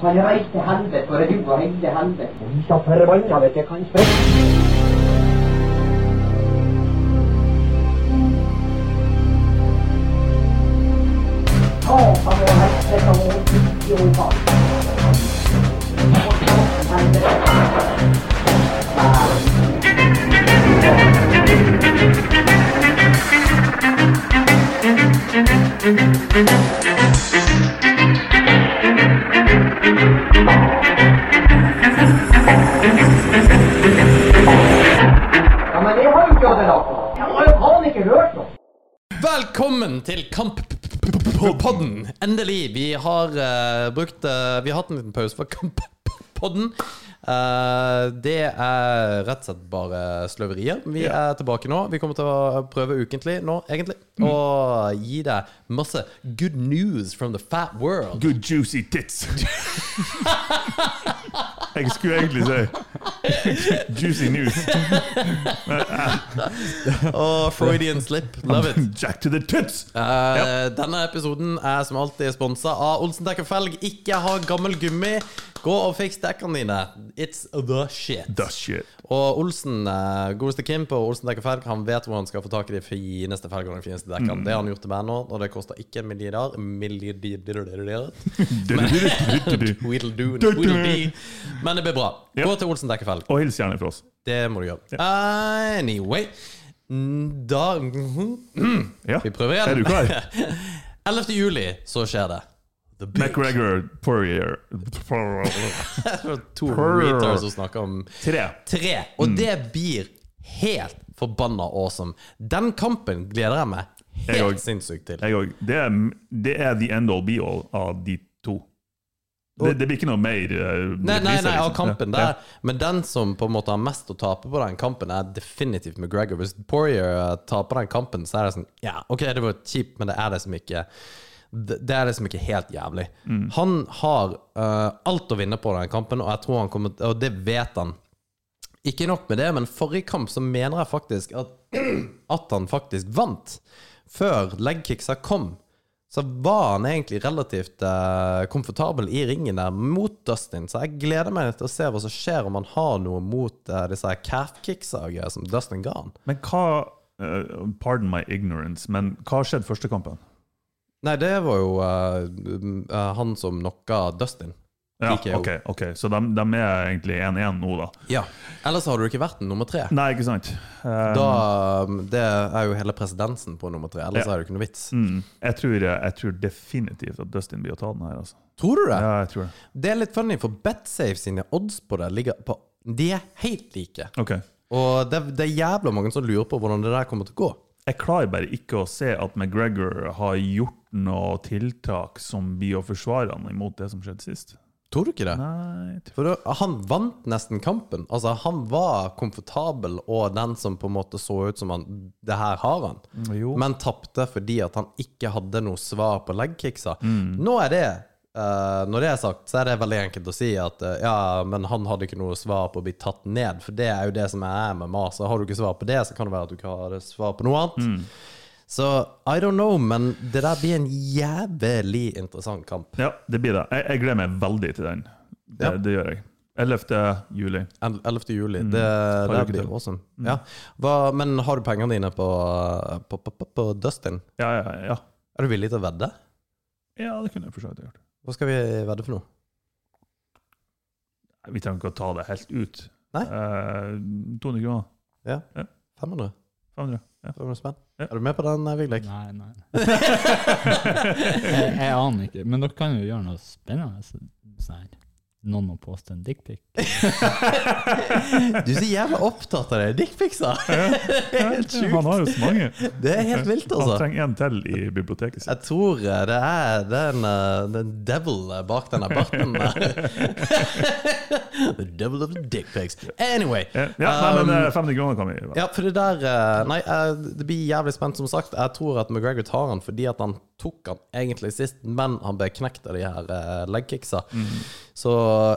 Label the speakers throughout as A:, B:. A: For det var ikke helvete, for det var ikke helvete.
B: Så forbanna vet jeg kanskje.
A: Å, for det var helvete, og ikke jo faen. Ja, men det har jo ikke jeg det da. Jeg har jo faen ikke hørt noe.
C: Velkommen til Kamp-podden. Endelig. Vi har eh, brukt eh, Vi har hatt en liten pause fra Kamp-podden. Eh, det er rett og slett bare sløverier. Vi er tilbake nå. Vi kommer til å prøve ukentlig nå, egentlig. Og gi deg masse good news from the fat world.
D: Good juicy tits. jeg skulle egentlig si juicy news.
C: Og Freudian slip. Love it.
D: Jack to the tits!
C: Eh, Denne episoden er som alltid sponsa av Olsen Dekk og Felg. Ikke ha gammel gummi. Gå og fiks dekkene dine. It's the shit.
D: That shit.
C: Og Olsen, eh, godeste Kim på Olsen Dekk og Felg, han vet hvor han skal få tak i de fineste felgene og de fineste dekkene. Det har han gjort til meg nå, og det koster ikke milliarder. Milliarder Tweedledoo and tweedledee. Men det blir bra. Gå
D: Ja.
C: til Olsen Dekk og Felg.
D: Og hils gjerne fra oss.
C: Det må du gjøre. Anyway. Da
D: Ja.
C: Vi prøver igjen.
D: Er du klar?
C: 11. juli så skjer det. The big
D: McGregor Poirier
C: Det var to
D: Purr.
C: retards som snakker om
D: Tre.
C: tre. Og
D: Mm.
C: det blir helt forbanna awesome. Den kampen gleder jeg meg
D: Jeg
C: helt
D: òg.
C: sinnssykt til.
D: Jeg òg. Det, er- det er the end all be all av de to. Det, det blir ikke noe mer eh,
C: Nei, nei,
D: repriser,
C: nei, av
D: liksom.
C: kampen
D: Ja.
C: der. Men den som på en måte har mest å tape på den kampen, er definitivt McGregor. Hvis Poirier eh, taper den kampen, så er det sånn Ja, OK, det var kjipt, men det er liksom ikke det det er liksom ikke helt jævlig.
D: Mm.
C: Han har eh, alt å vinne på den kampen, og jeg tror han kommer Og det vet han. Ikke nok med det, men forrige kamp så mener jeg faktisk at, at han faktisk vant. Før legkicksa kom, så var han egentlig relativt eh, komfortabel i ringen der mot Dustin. Så jeg gleder meg til å se hva som skjer om han har noe mot eh, disse her calf-kicksa og greier som Dustin ga han.
D: Men hva eh, Pardon my ignorance, men hva skjedde første kampen?
C: Nei, det var jo eh, eh, han som knocka Dustin.
D: Ja,
C: TKO.
D: ok, ok, Så de, de er egentlig 1-1 nå, da.
C: Ja. Ellers hadde du ikke vært en nummer tre.
D: Nei, ikke sant? Eh,
C: Da, um, det er jo hele presedensen på nummer tre. Ellers
D: Ja.
C: er det jo ikke noe vits.
D: mm, jeg, tror, jeg tror definitivt at Dustin blir å ta den her, altså.
C: Tror du det?
D: Ja, jeg tror det.
C: Det er litt funny, for BetSafe sine odds på det ligger på De er helt like.
D: Ok.
C: Og det, det er jævla mange som lurer på hvordan det der kommer til å gå.
D: Jeg klarer bare ikke å se at McGregor har gjort noe tiltak som blir å forsvare han imot det som skjedde sist.
C: Tror du ikke det?
D: Nei, jeg tror-
C: For da, han vant nesten kampen. Altså, han var komfortabel og den som på en måte så ut som han Det her har han.
D: Mm, Jo.
C: Men tapte fordi at han ikke hadde noe svar på legkicksa.
D: Mm.
C: Nå er det eh, Når det er sagt, så er det veldig enkelt å si at eh, ja, men han hadde ikke noe svar på å bli tatt ned, for det er jo det som er MMA. Så har du ikke svar på det, så kan det være at du ikke har svar på noe
D: Mm.
C: annet. Så I don't know, men det der blir en jævlig interessant kamp.
D: Ja, det blir det. Jeg, jeg gleder meg veldig til den. Det,
C: Ja.
D: det gjør jeg. 11. juli.
C: El- 11. juli.
D: Mm.
C: Det, det
D: uke
C: blir
D: til.
C: awesome. Ja. Hva, men har du pengene dine på, på, på, på, på Dustin?
D: Ja, ja, ja.
C: Er du villig til å vedde?
D: Ja, det kunne jeg for så vidt ha gjort.
C: Hva skal vi vedde for noe?
D: Vi trenger ikke å ta det helt ut.
C: Nei.
D: Eh, 200 kroner.
C: Ja.
D: Ja.
C: 500?
D: 500. Ja.
C: 500 spenn?
D: Ja.
C: Er du med på den, eh, Vigleik?
E: Nei, nei. jeg, jeg aner ikke. Men dere kan jo gjøre noe spennende. så- Sånn her. Noen må poste en dickpic.
C: Du er så jævla opptatt av det. Dickpicsa! Helt
D: Ja, Han
C: sjukt.
D: har jo så mange.
C: Det er helt vilt,
D: Han
C: altså.
D: trenger en til i biblioteket sitt.
C: Jeg tror eh, det er den, eh, den devil eh, bak denne barten der. the devil of the dickpics. Anyway.
D: Ja, nei, men
C: um,
D: eh, 50 kroner kan vi gjøre.
C: Ja, for det der eh, Nei, eh, det blir jævlig spent, som sagt. Jeg tror at McGregor tar han fordi at han tok han egentlig sist, men han ble knekt av de her eh, legkicksa.
D: Mhm.
C: Så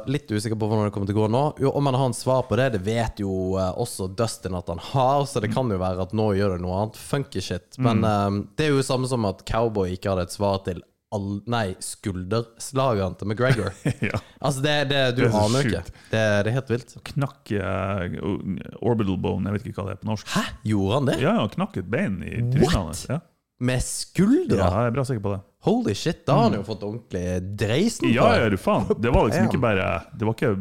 C: litt usikker på hvordan det kommer til å gå nå. Jo, Om han har en svar på det, det vet jo eh, også Dustin at han har, så det
D: Mhm.
C: kan jo være at nå gjør det noe annet funky shit. Men eh, det er jo samme som at Cowboy ikke hadde et svar til all, Nei, skulderslagene til McGregor.
D: ja.
C: Altså, det, det, du
D: Det er så
C: aner jo
D: sjukt.
C: ikke. Det, det er helt vilt.
D: Knakk eh, orbital bone, jeg vet ikke hva det er på norsk.
C: Hæ? Gjorde han det?
D: Ja, ja, knakk et bein i trynet
C: What?
D: hans. Ja.
C: Med
D: ja,
C: skuldra?
D: jeg er bra sikker på det.
C: Holy shit, da har han jo fått ordentlig dreisen på
D: Mm. Ja,
C: det.
D: ja, du faen. Det var liksom
C: Damn.
D: ikke bare Det var ikke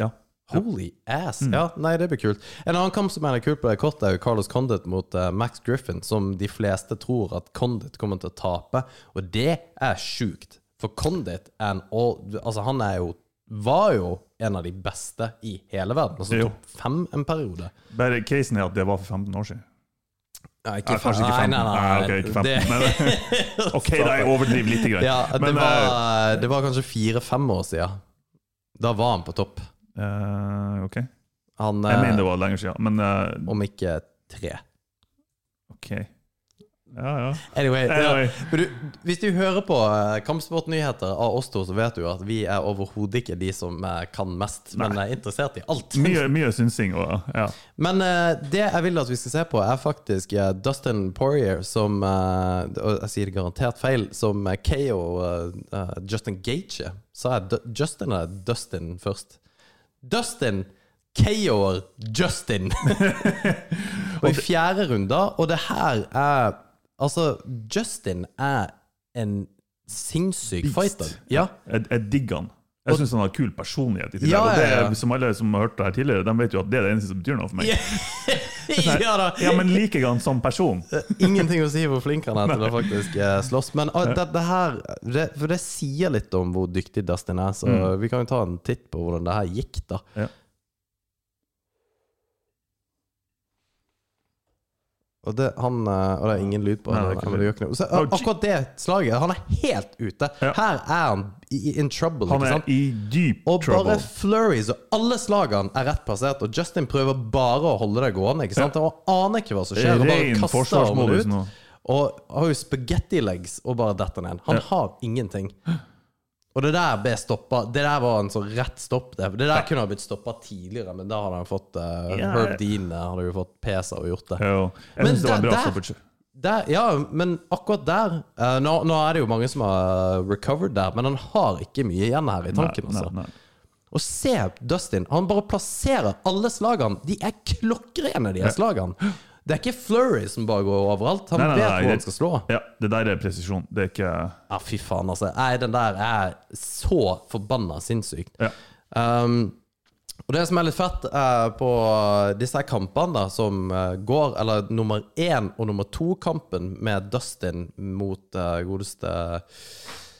D: Ja.
C: Holy ass.
D: Mm.
C: Ja, nei, det blir kult. En annen kamp som er kult på det kortet, er jo Carlos Condit mot eh, Max Griffin, som de fleste tror at Condit kommer til å tape, og det er sjukt. For Condit er en all Altså, han er jo var jo en av de beste i hele verden. Altså
D: Jo.
C: topp fem en periode.
D: Bare casen er at det var for 15 år siden.
C: Nei,
D: Nei, kanskje ikke 15.
C: Nei, nei, nei,
D: ok, ikke 15.
C: Det-
D: Men, ok, da jeg overdriver litt. Grann.
C: ja, det,
D: Men, eh,
C: var, det var kanskje fire-fem år siden. Da var han på topp.
D: eh, ok.
C: Han,
D: Jeg
C: eh,
D: mener det var lenger siden, men eh,
C: om ikke tre.
D: ok. Ja, ja.
C: Anyway,
D: Anyway.
C: Ja, men du, hvis du hører på eh, kampsportnyheter av oss to, så vet du jo at vi er overhodet ikke de som eh, kan mest, men er interessert i alt.
D: Mye, mye synsing og ja.
C: Men eh, det jeg vil at vi skal se på, er faktisk eh, Dustin Poirier som eh, Og jeg sier garantert feil, som eh, KO eh, eh, Justin Gaethje. Sa jeg Du- Justin eller Dustin først? Dustin KO-er Justin! og i fjerde runde, og det her er Altså, Justin er en sinnssyk
D: Beast.
C: fighter. Ja.
D: Jeg, jeg digger han. Jeg syns han har kul personlighet. i tillegg,
C: Ja,
D: og det,
C: ja, ja.
D: er- Som alle som har hørt det her tidligere, de vet jo at det er det eneste som betyr noe for meg.
C: ja da!
D: Ja, men liker jeg han som person?
C: Eh, Ingenting å si hvor flink han er til å faktisk eh, slåss. Men ah, det, det her det, For det sier litt om hvor dyktig Dustin er, så vi kan jo ta en titt på hvordan det her gikk, da.
D: Mm. Ja.
C: Og det, han, eh, og det er ingen lyd på
D: Nei,
C: han,
D: det er ikke
C: men det gjør ikke noe. Så, eh, akkurat det slaget, han er helt ute.
D: Ja.
C: Her er han i, i- in trouble,
D: Han
C: ikke
D: er
C: sant?
D: i dyp
C: Og
D: trouble.
C: bare flurries, og alle slagene er rett plassert, og Justin prøver bare å holde det gående. ikke sant? Han aner ikke hva som skjer, og bare
D: Ren
C: kaster armen
D: forsvarsmodus
C: ut.
D: nå.
C: Og har jo spagetti legs og bare detter ned. Han har ingenting. Og det der ble stoppa. Det der var en sånn rett stopp. Det Det der kunne ha blitt stoppa tidligere, men da hadde han fått eh,
D: Ja.
C: Herb Dean eh, hadde jo fått PESA og gjort det.
D: Ja, jo. jeg
C: Men
D: syns det var en
C: der-
D: bra
C: der-
D: stoppage.
C: Der, ja, men akkurat der eh, nå, nå er det jo mange som har eh, recovered der, men han har ikke mye igjen her i tanken. altså.
D: Nei, nei.
C: Og se Dustin, han bare plasserer alle slagene. De er klokkrene, de her slagene. Det er ikke Flurry som bare går overalt. Han
D: Nei, nei,
C: vet
D: nei,
C: hvor
D: det-
C: han skal slå.
D: Ja, det der er presisjon. Det er ikke eh,
C: Ja, fy faen, altså. Nei, den der er så forbanna sinnssykt.
D: Ja.
C: Um, og det som er litt fett eh, på disse her kampene da, som eh, går, eller nummer én og nummer to-kampen med Dustin mot eh, godeste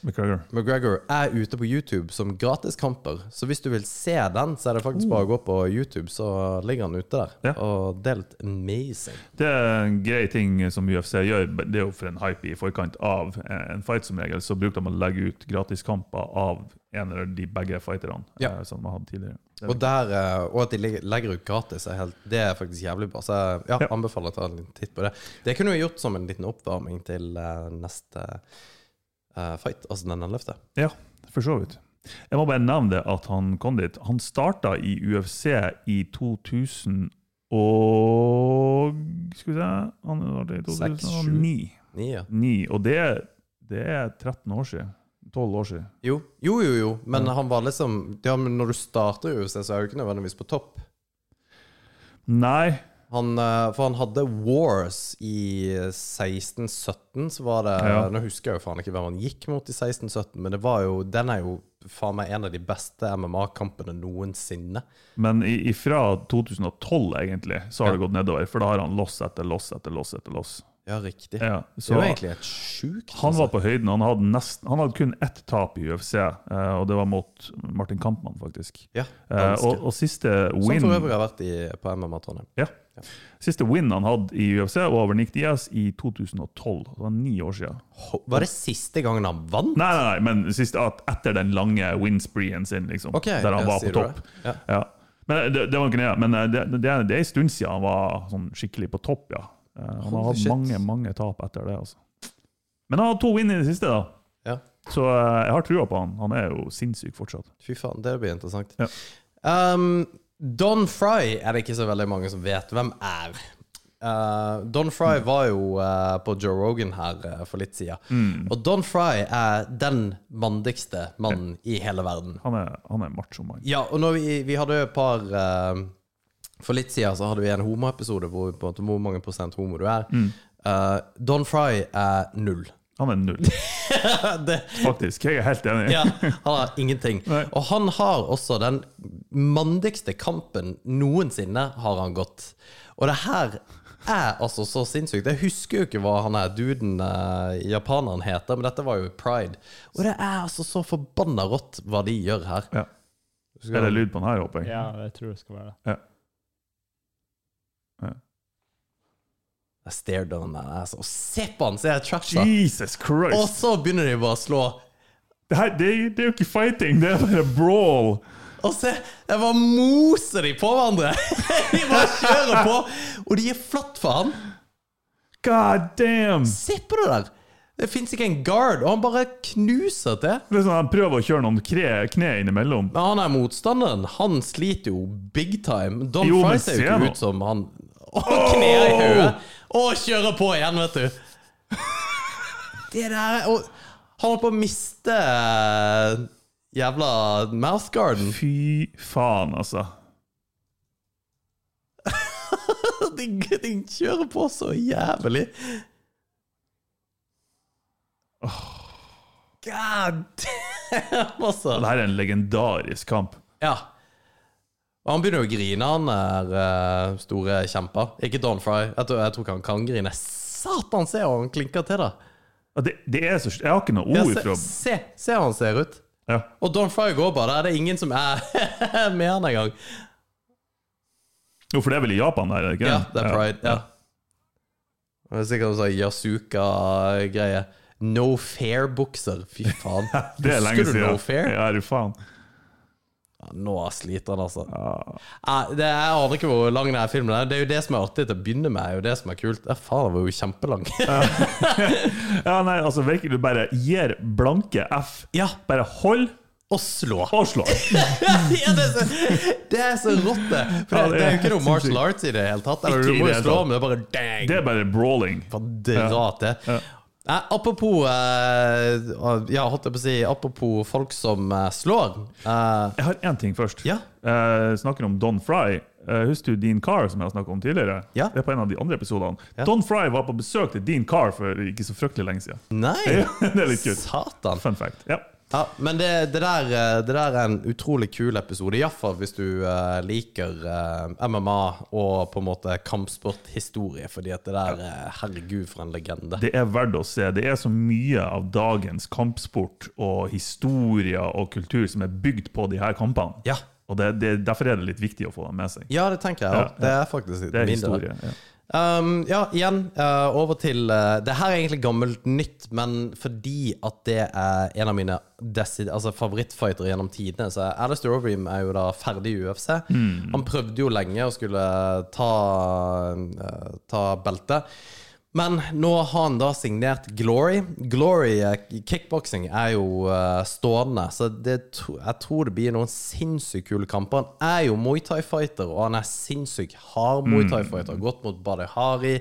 D: McGregor.
C: McGregor, er ute på YouTube som gratiskamper. Så hvis du vil se den, så er det faktisk bare å gå på YouTube, så ligger den ute der.
D: Ja.
C: Og det er litt amazing.
D: Det er en grei ting som UFC gjør. men Det er jo for en hype i forkant av eh, en fight, som regel. Så bruker de å legge ut gratiskamper av en eller de begge fighterne
C: Ja.
D: eh, som de hadde tidligere. Det
C: Og, der, eh, og at de legger- legger ut gratis, er helt, det er faktisk jævlig bra. Så jeg ja,
D: Ja.
C: anbefaler å ta en liten titt på det. Det kunne vi gjort som en liten oppvarming til eh, neste eh, fight, altså den 11.
D: Ja, for så vidt. Jeg må bare nevne det at han kom dit. Han starta i UFC i 2000 og Skal vi se Han var i
C: Seks,
D: 2009.
C: Nye.
D: Ni, og det, det er 13 år siden. 12 år siden.
C: Jo, jo, jo, jo. men han var liksom ja, men Når du starter i UFC, så er du ikke nødvendigvis på topp.
D: Nei,
C: Han, eh, for han hadde Wars i 1617, så var det
D: Ja.
C: Nå husker jeg jo faen ikke hvem han gikk mot i 1617, men det var jo, den er jo faen meg en av de beste MMA-kampene noensinne.
D: men i- ifra 2012 egentlig, så har det gått nedover. For da har han loss etter loss etter loss. etter loss.
C: Ja, riktig.
D: Ja,
C: Det
D: så
C: var egentlig helt sjukt.
D: han
C: altså.
D: var på høyden. Han hadde, nesten, han hadde kun ett tap i UFC, eh, og det var mot Martin Kampmann, faktisk.
C: ja,
D: Eh,
C: ganske.
D: og, og siste
C: Som
D: win
C: for øvrig har vært i, på MMA Trondheim.
D: Ja. Siste win han hadde i UFC, var over Nick Diaz i 2012. Det var ni år siden.
C: Ho- Var det siste gangen han vant?
D: Nei, nei, nei men sist, at etter den lange win-spreen sin, liksom,
C: Ok,
D: der han
C: ja,
D: var
C: sier
D: på
C: du
D: topp.
C: det? Ja.
D: Men det, det var ikke det, men eh, det, det, er- det er en stund siden han var sånn skikkelig på topp, ja. Eh, Han har
C: Holy
D: hatt
C: shit.
D: mange, mange tap etter det, altså. Men han hadde to win i det siste, da.
C: Ja.
D: Så eh, jeg har trua på han. Han er jo sinnssyk fortsatt.
C: Fy faen, det blir interessant.
D: Ja.
C: Um, Don Fry er det ikke så veldig mange som vet hvem er. Eh, Don Fry var jo eh, på Joe Rogan her eh, for litt siden. Og Don Fry er den mandigste mannen i hele verden.
D: Han er, han er en macho mann.
C: Ja, og når vi, vi hadde jo et par eh, For litt siden så hadde vi en homoepisode hvor vi på en måte hvor mange prosent homo du er. Eh, Don Fry er null.
D: Han er null,
C: det,
D: faktisk. Jeg er helt enig.
C: ja, han har ingenting.
D: Nei.
C: Og han har også den mandigste kampen noensinne har han gått. Og det her er altså så sinnssykt. Jeg husker jo ikke hva han er duden eh, japaneren heter, men dette var jo pride. Og det er altså så forbanna rått hva de gjør her.
D: Ja. Er det lyd på den her, håper jeg?
E: Ja, jeg tror det skal være det.
C: Jeg stared down der, altså. Og se på han, se jeg trasha!
D: Jesus
C: Og
D: Christ!
C: så begynner de bare å slå.
D: Det, her, det, er- det er jo ikke fighting, det er bare brawl!
C: Og se, jeg bare moser de på hverandre! de bare kjører på, og de gir flatt for han.
D: God damn!
C: Se på det der! Det fins ikke en guard, og han bare knuser til.
D: Det er sånn, Han prøver å kjøre noen kre, kne innimellom.
C: Men han er motstanderen. Han sliter jo big time. Don
D: Jo,
C: Fry
D: men
C: ser jo
D: se
C: ikke
D: nå.
C: ut som han Og kner i hodet! Og kjører på igjen, vet du. Det der Og han holdt på å miste eh, jævla mouthgarden.
D: Fy faen, altså.
C: De, de kjører på så jævlig. God damn, altså.
D: Det her er en legendarisk kamp.
C: Ja. Og han begynner jo å grine, han er eh, store kjemper. Ikke Don Fry. Jeg tror, jeg tror ikke han kan grine. Satan, se hvordan han klinker til, da!
D: Ja, Det, det er så, jeg har ikke noe
C: Ja,
D: ord
C: se,
D: fra
C: se, se hvordan han ser ut.
D: ja.
C: Og Don Fry går bare der. Det er ingen som er med han engang.
D: Jo, for det er vel i Japan, der, er det ikke?
C: Ja, det er pride. Ja. Det er sikkert sånn Yasuka-greie. No fair-bukser. Fy faen.
D: Det er lenge
C: Husker du
D: siden.
C: No fair?
D: Ja, er du faen.
C: Ja, Nå sliter han, altså. Nei, det, jeg aner ikke hvor lang denne filmen er. Det er jo det som er artig til å begynne med. Det er jo det som er kult. Ja, faen, den var jo kjempelang.
D: Ja, nei, altså virkelig du bare gir blanke F.
C: ja,
D: Bare hold
C: og slå.
D: og slå.
C: ja, det, er så, det er så rått, det. For
D: Ja,
C: det,
D: det
C: det er
D: er
C: jo ikke noe
D: helt
C: martial
D: sinnssykt.
C: arts i det hele tatt. Eller, du
D: Ikke i
C: må
D: det
C: jo
D: hele
C: slå,
D: tatt.
C: men det er bare dang.
D: Det er bare brawling.
C: Bare dra til.
D: Ja.
C: Nei, apropos eh, Ja, holdt jeg på å si Apropos folk som eh, slår. Eh,
D: Jeg har én ting først.
C: ja.
D: Eh, snakker om Don Fry. Eh, husker du Dean Carr, som jeg har snakket om tidligere?
C: Ja.
D: Det er på en av de andre episodene. Don Fry var på besøk til Dean Carr for ikke så fryktelig lenge siden.
C: Nei!
D: det er litt kult.
C: Mm. Satan.
D: Fun fact. Ja.
C: Ja, men det, det, der, eh, det der er en utrolig kul episode, iallfall hvis du eh, liker eh, MMA og på en måte kampsporthistorie, fordi at det der eh, Herregud, for en legende.
D: Det er verdt å se. Det er så mye av dagens kampsport og historier og kultur som er bygd på de her kampene.
C: Ja.
D: Og det, det, Derfor er det litt viktig å få dem med seg.
C: Ja, det tenker jeg
D: Ja,
C: òg. Det er faktisk
D: Det er
C: min del.
D: historie. Ja.
C: Um, ja, igjen, eh, over til eh, Det her er egentlig gammelt nytt, men fordi at det er en av mine desi- altså favorittfightere gjennom tidene, så er Alistair Overeem er jo da ferdig i UFC. Han prøvde jo lenge å skulle ta, eh, ta beltet. Men nå har han da signert Glory. Glory eh, kickboxing er jo eh, stående, så det, tro- jeg tror det blir noen sinnssykt kule kamper. Han er jo Muay Thai-fighter, og han er sinnssykt hard Muay Thai-fighter. Gått mot Badi Hari.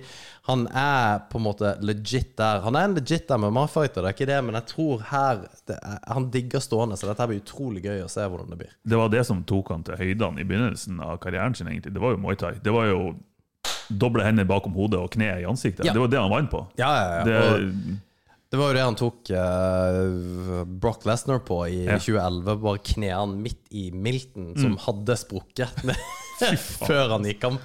C: Han er på en måte legit der. Han er en legit MMA-fighter, det er ikke det, men jeg tror her det er, Han digger stående, så dette her blir utrolig gøy å se hvordan det blir.
D: Det var det som tok han til høydene i begynnelsen av karrieren sin. egentlig. Det var jo Muay Thai. Det var jo doble hender bakom hodet og kneet i ansiktet.
C: Ja.
D: Det var det han vant på.
C: Ja, ja, ja.
D: Det,
C: og- Det var jo det han tok eh, Brock Lesnar på i 2011. Bare knærne midt i milten, som hadde sprukket før han gikk kamp.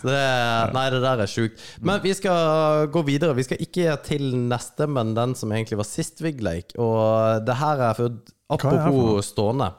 C: Så det, nei, det der er sjukt. Men vi skal gå videre. Vi skal ikke til neste, men den som egentlig var sist Vigleik. Og det her er for,
D: for noe?
C: apropos stående.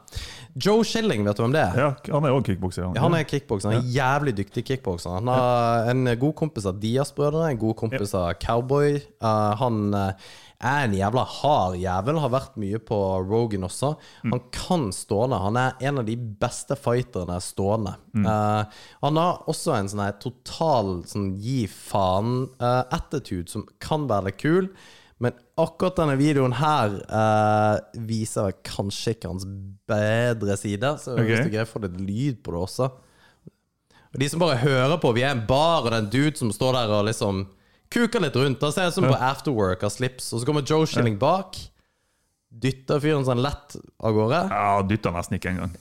C: Joe Shilling, vet du hvem det er?
D: ja, han er òg kickbokser.
C: Ja, Han er kickbokser. Han er Jævlig dyktig kickbokser. Han har en god kompis av Diaz-brødrene, en god kompis av Cowboy. Eh, han eh, er en jævla hard jævel, har vært mye på Rogan også. Han kan stående. Han er en av de beste fighterne stående. Eh, han har også en sånn her total sånn gi faen-attitude som kan være litt kul. Men akkurat denne videoen her eh, viser kanskje ikke hans bedre side. Så
D: Ok.
C: hvis du greier å få litt lyd på det også Og de som bare hører på, vi er en bar, og det er en dude som står der og liksom kuker litt rundt. Det ser ut som på Afterwork av slips. Og så kommer Joe Shilling bak, dytter fyren sånn lett av gårde.
D: Ja, dytta nesten ikke engang.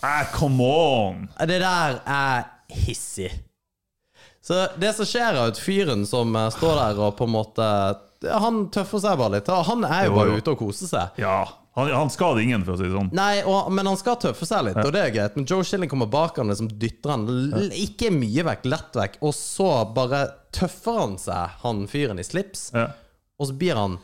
D: Ah, come on!
C: Det der er hissig. Så det som skjer er at fyren som eh, står der og på en måte Han tøffer seg bare litt. Han er jo
D: Jo,
C: bare
D: jo.
C: ute og koser seg.
D: Ja, han, han skader ingen, for å si det sånn.
C: Nei, og, men han skal tøffe seg litt, og det er greit. Men Joe Shilling kommer bak han liksom dytter han l- ikke mye vekk, lett vekk, og så bare tøffer han seg, han fyren i slips,
D: Ja.
C: og så blir han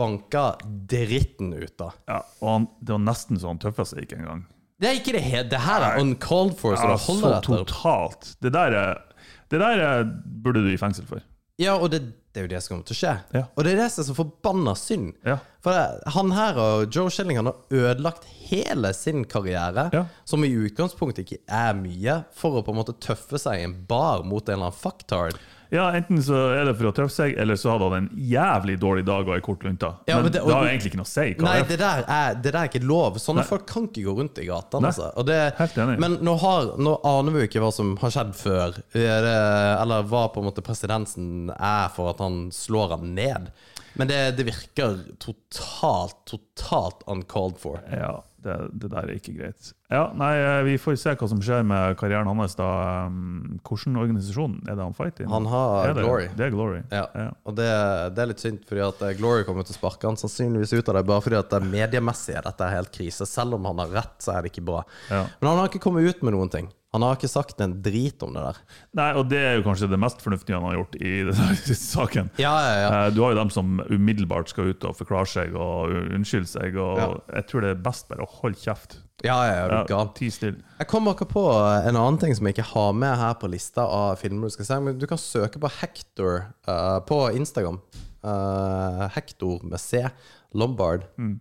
C: banka dritten ut av.
D: Ja, og han, det var nesten så han tøffa seg ikke engang.
C: Det er ikke det helt Det her er
D: Nei.
C: uncalled for, så
D: Ja,
C: det
D: så
C: holder etter.
D: totalt. Det der, er, det der er, burde du i fengsel for.
C: Ja, og det, det er jo det som kommer til å skje.
D: Ja.
C: Og det er det som er så forbanna synd.
D: Ja.
C: For det, han her og Joe Schilling han har ødelagt hele sin karriere,
D: Ja.
C: som i utgangspunktet ikke er mye, for å på en måte tøffe seg i en bar mot en eller annen fucktard.
D: ja, Enten så er det for å tøffe seg, eller så hadde han en jævlig dårlig dag og ei kort lunte.
C: Ja,
D: men,
C: men det-
D: det,
C: og-
D: har jo egentlig ikke noe å si. hva
C: Nei,
D: det er.
C: det der, er, det der er ikke lov. Sånne folk kan ikke gå rundt i gatene.
D: Nei.
C: Altså. Og det-
D: Helt enig.
C: Men nå, har, nå aner vi jo ikke hva som har skjedd før, Eh, det, eller hva på en måte presedensen er for at han slår ham ned. Men det, det virker totalt, totalt uncalled for.
D: Ja, det, det der er ikke greit. Ja, nei, eh, Vi får se hva som skjer med karrieren hans. da. Um, Hvilken organisasjon er det han fighter i?
C: Han har
D: Er det,
C: Glory.
D: Det er Glory.
C: Ja.
D: Ja.
C: Og det, det er litt synd, fordi at eh, Glory kommer til å sparke han sannsynligvis ut av det, bare fordi at det mediemessig er dette helt krise. Selv om han har rett, så er det ikke bra.
D: Ja.
C: Men han har ikke kommet ut med noen ting. Han har ikke sagt en drit om det der.
D: Nei, og det er jo kanskje det mest fornuftige han har gjort i denne saken.
C: Ja, ja, ja.
D: Eh, Du har jo dem som umiddelbart skal ut og forklare seg og u- unnskylde seg. og Jeg tror det er best bare å holde kjeft.
C: ja, ja, ja, du er
D: Ja,
C: gal.
D: ti still.
C: Jeg kom akkurat på en annen ting som jeg ikke har med her på lista av filmer du skal se. Men du kan søke på Hector eh, på Instagram. Eh, Hector med C. Lombard.
D: Mm.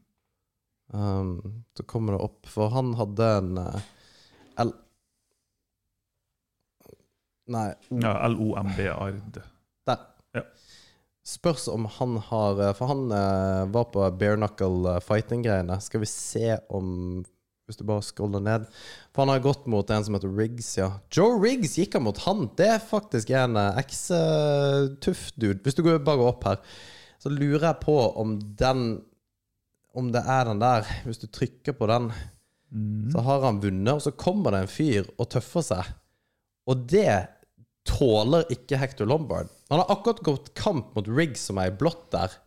C: Um, så kommer det opp, for han hadde en eh, L... Nei,
D: Ja, L-O-M-B-A-R-D.
C: der.
D: Ja.
C: Spørs om han har eh, For han eh, var på bare knuckle eh, fighting-greiene. Skal vi se om Hvis du bare scroller ned. For han har gått mot en som heter Riggs, ja. Joe Riggs gikk han mot han! Det er faktisk en eh, eks-tuff dude. Hvis du går, bare går opp her, så lurer jeg på om den Om det er den der. Hvis du trykker på den, så har han vunnet, og så kommer det en fyr og tøffer seg. Og det tåler ikke Hector Lombard. Han har akkurat gått kamp mot Riggs, som er i blått der,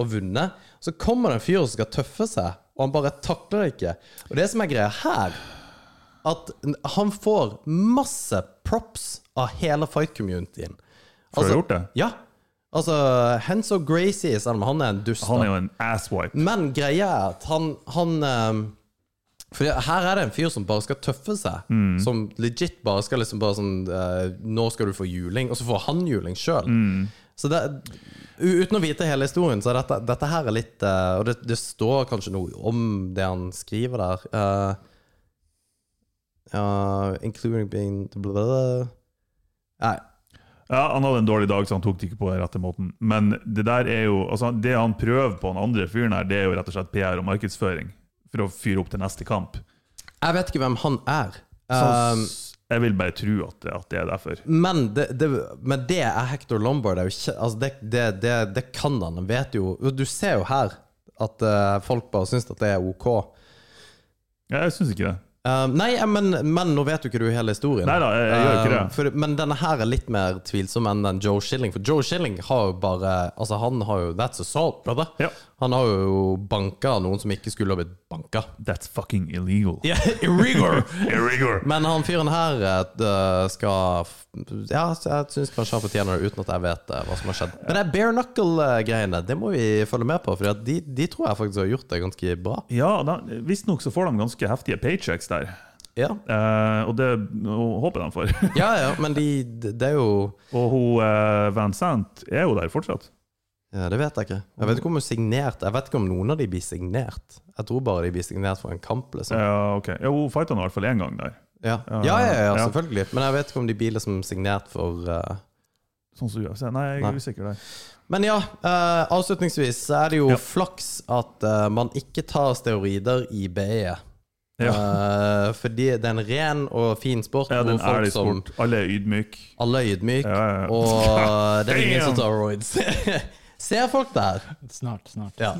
C: og vunnet. Så kommer det en fyr som skal tøffe seg, og han bare takler det ikke. Og det som er greia her, at han får masse props av hele fight-communityen. Altså,
D: For å ha gjort det?
C: Ja. Altså, Henzo Gracie, selv om han er en dust.
D: Han
C: da.
D: er jo en asswipe.
C: Men greia er at han, han ehm, For her er det en fyr som bare skal tøffe seg.
D: Mm.
C: Som legit bare skal liksom bare sånn eh, 'Nå skal du få juling', og så får han juling sjøl.
D: Mm.
C: Så det, u- uten å vite hele historien, så er dette, dette her er litt eh, Og det, det står kanskje noe om det han skriver der. eh, ja, including being blah, blah, blah. Nei.
D: Ja, Han hadde en dårlig dag, så han tok det ikke på den rette måten. Men det der er jo, altså det han prøver på den andre fyren her, det er jo rett og slett PR og markedsføring. For å fyre opp til neste kamp.
C: Jeg vet ikke hvem han er.
D: Så
C: Ehm,
D: s- jeg vil bare tro at, det- at det er derfor.
C: Men det, det, men det er Hector Lombard. Det, er jo ikke, altså det, det, det, det kan han. Han vet jo Du ser jo her at eh, folk bare syns at det er OK.
D: Ja, jeg syns ikke det.
C: Eh, nei, eh, men, men nå vet jo ikke du hele historien.
D: Nei da, jeg, jeg gjør jo ikke
C: Eh,
D: det.
C: for, men denne her er litt mer tvilsom enn den Joe Shilling. For Joe Shilling har jo bare Altså, han har jo That's assault, brother.
D: Ja.
C: Han har jo banka noen som ikke skulle ha blitt banka.
D: That's fucking illegal.
C: Yeah, irregular.
D: Illegal.
C: Men han fyren her eh, skal f- Ja, så jeg syns kanskje han fortjener det, uten at jeg vet eh, hva som har skjedd. Men det er bare knuckle-greiene, det må vi følge med på, for de, de tror jeg faktisk har gjort det ganske bra.
D: Ja, da- visstnok så får de ganske heftige paychecks der.
C: Ja,
D: Eh, og det nå håper jeg de får.
C: ja, ja men de, det er jo
D: og hun eh, Van Sant er jo der fortsatt.
C: ja, Det vet jeg ikke. Jeg vet ikke om hun signerte. Jeg vet ikke om noen av de blir signert. Jeg tror bare de blir signert for en kamp, liksom.
D: Ja, ok. Ja, hun fighta i hvert fall én gang der.
C: Ja, ja, ja, ja,
D: Ja.
C: selvfølgelig. Men jeg vet ikke om de blir liksom signert for eh,
D: Sånn som UFC. Nei, jeg
C: Nei.
D: er usikker der.
C: Men ja, eh, avslutningsvis så er det jo
D: Ja.
C: flaks at eh, man ikke tar steroider i BE. Eh, fordi det er en ren og fin sport
D: Ja, den
C: hvor
D: er
C: folk
D: litt
C: som
D: sport. Alle er ydmyke.
C: alle er ydmyke,
D: Ja, ja, ja.
C: og eh, det er ingen som
D: Damn!
C: tar roids. Ser folk der?
E: Snart, snart.
C: Ja.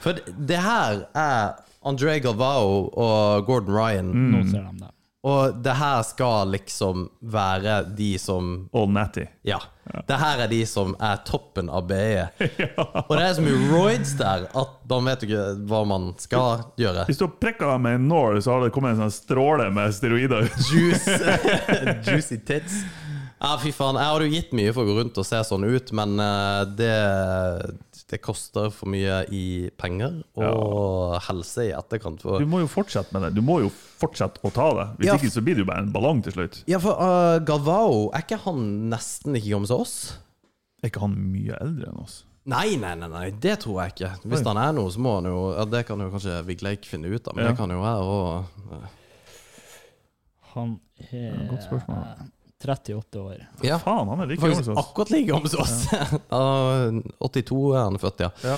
C: For det her er André Galvao og Gordon Ryan,
D: Mm.
E: Nå ser de det.
C: og det her skal liksom være de som
D: All natty.
C: Ja. Det her er de som er toppen av BE. Og det er så mye roids der at man vet ikke hva man skal gjøre.
D: Hvis du har prikka med en nål, så har det kommet en sånn stråle med steroider ut.
C: Juice. Juicy tits. Ja, fy faen. Jeg hadde jo gitt mye for å gå rundt og se sånn ut, men eh, det, det koster for mye i penger og helse i etterkant. For
D: Du må jo fortsette med det. Du må jo fortsette å ta det. Hvis
C: Ja.
D: ikke så blir det jo bare en ballong til slutt.
C: ja, for eh, Galvao, er ikke han nesten like gammel som oss?
D: Er ikke han mye eldre enn oss?
C: Nei, nei, nei, nei, det tror jeg ikke. Hvis han er noe, så må han jo ja, Det kan jo kanskje Vigleik finne ut av, men
D: Ja.
C: det kan jo jeg eh, òg.
E: Han er
D: Godt spørsmål.
E: 38 år.
C: Ja,
D: Faen, han er like gammel
C: faktisk
D: som oss.
C: akkurat like gammel som oss. Ja. 82 er han født, ja.
D: Ja.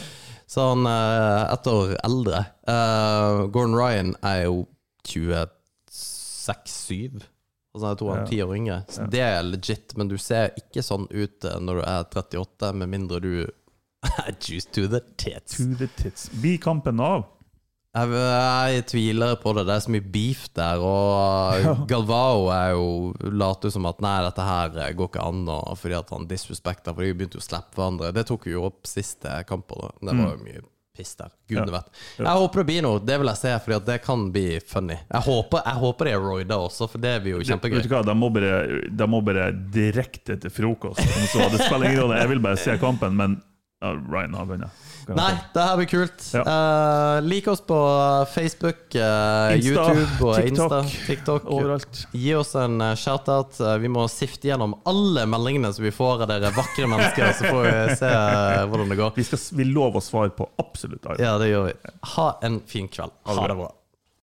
C: Så han eh, ett år eldre. Eh, Gordon Ryan er jo 26-7. Altså jeg tror han
D: Ja.
C: er ti år yngre. Så det er legit, men du ser ikke sånn ut eh, når du er 38, med mindre du Juice to the tits.
D: To the tits. Blir kampen av?
C: Jeg, jeg tviler på det. Det er så mye beef der, og Galvao er jo later som at nei, dette her går ikke an, og fordi at han disrespekter, for de begynte jo å slippe hverandre. Det tok vi jo opp siste kamper, da. Det
D: Mm.
C: var jo mye piss der. Gudene vet. Jeg håper det blir noe, det vil jeg se, fordi at det kan bli funny. Jeg håper, jeg håper det er Royda også, for det blir jo
D: Vet
C: kjempegøy.
D: du hva, De må bare, de må bare direkte til frokost. om Så det spiller ingen rolle. Jeg vil bare se kampen, men ja, Ryan har vunnet. Kan jeg
C: Nei,
D: si.
C: det her blir kult.
D: Ja.
C: Eh, lik oss på Facebook, eh,
D: Insta,
C: YouTube og
D: TikTok,
C: Insta, TikTok.
D: Overalt.
C: Gi oss en eh, shout-out. Eh, Vi må sifte gjennom alle meldingene som vi får av dere vakre mennesker, så får vi se eh, hvordan det går.
D: Vi, skal, vi lover å svare på absolutt alt.
C: Ja, det gjør vi. Ha en fin kveld. Ha det bra.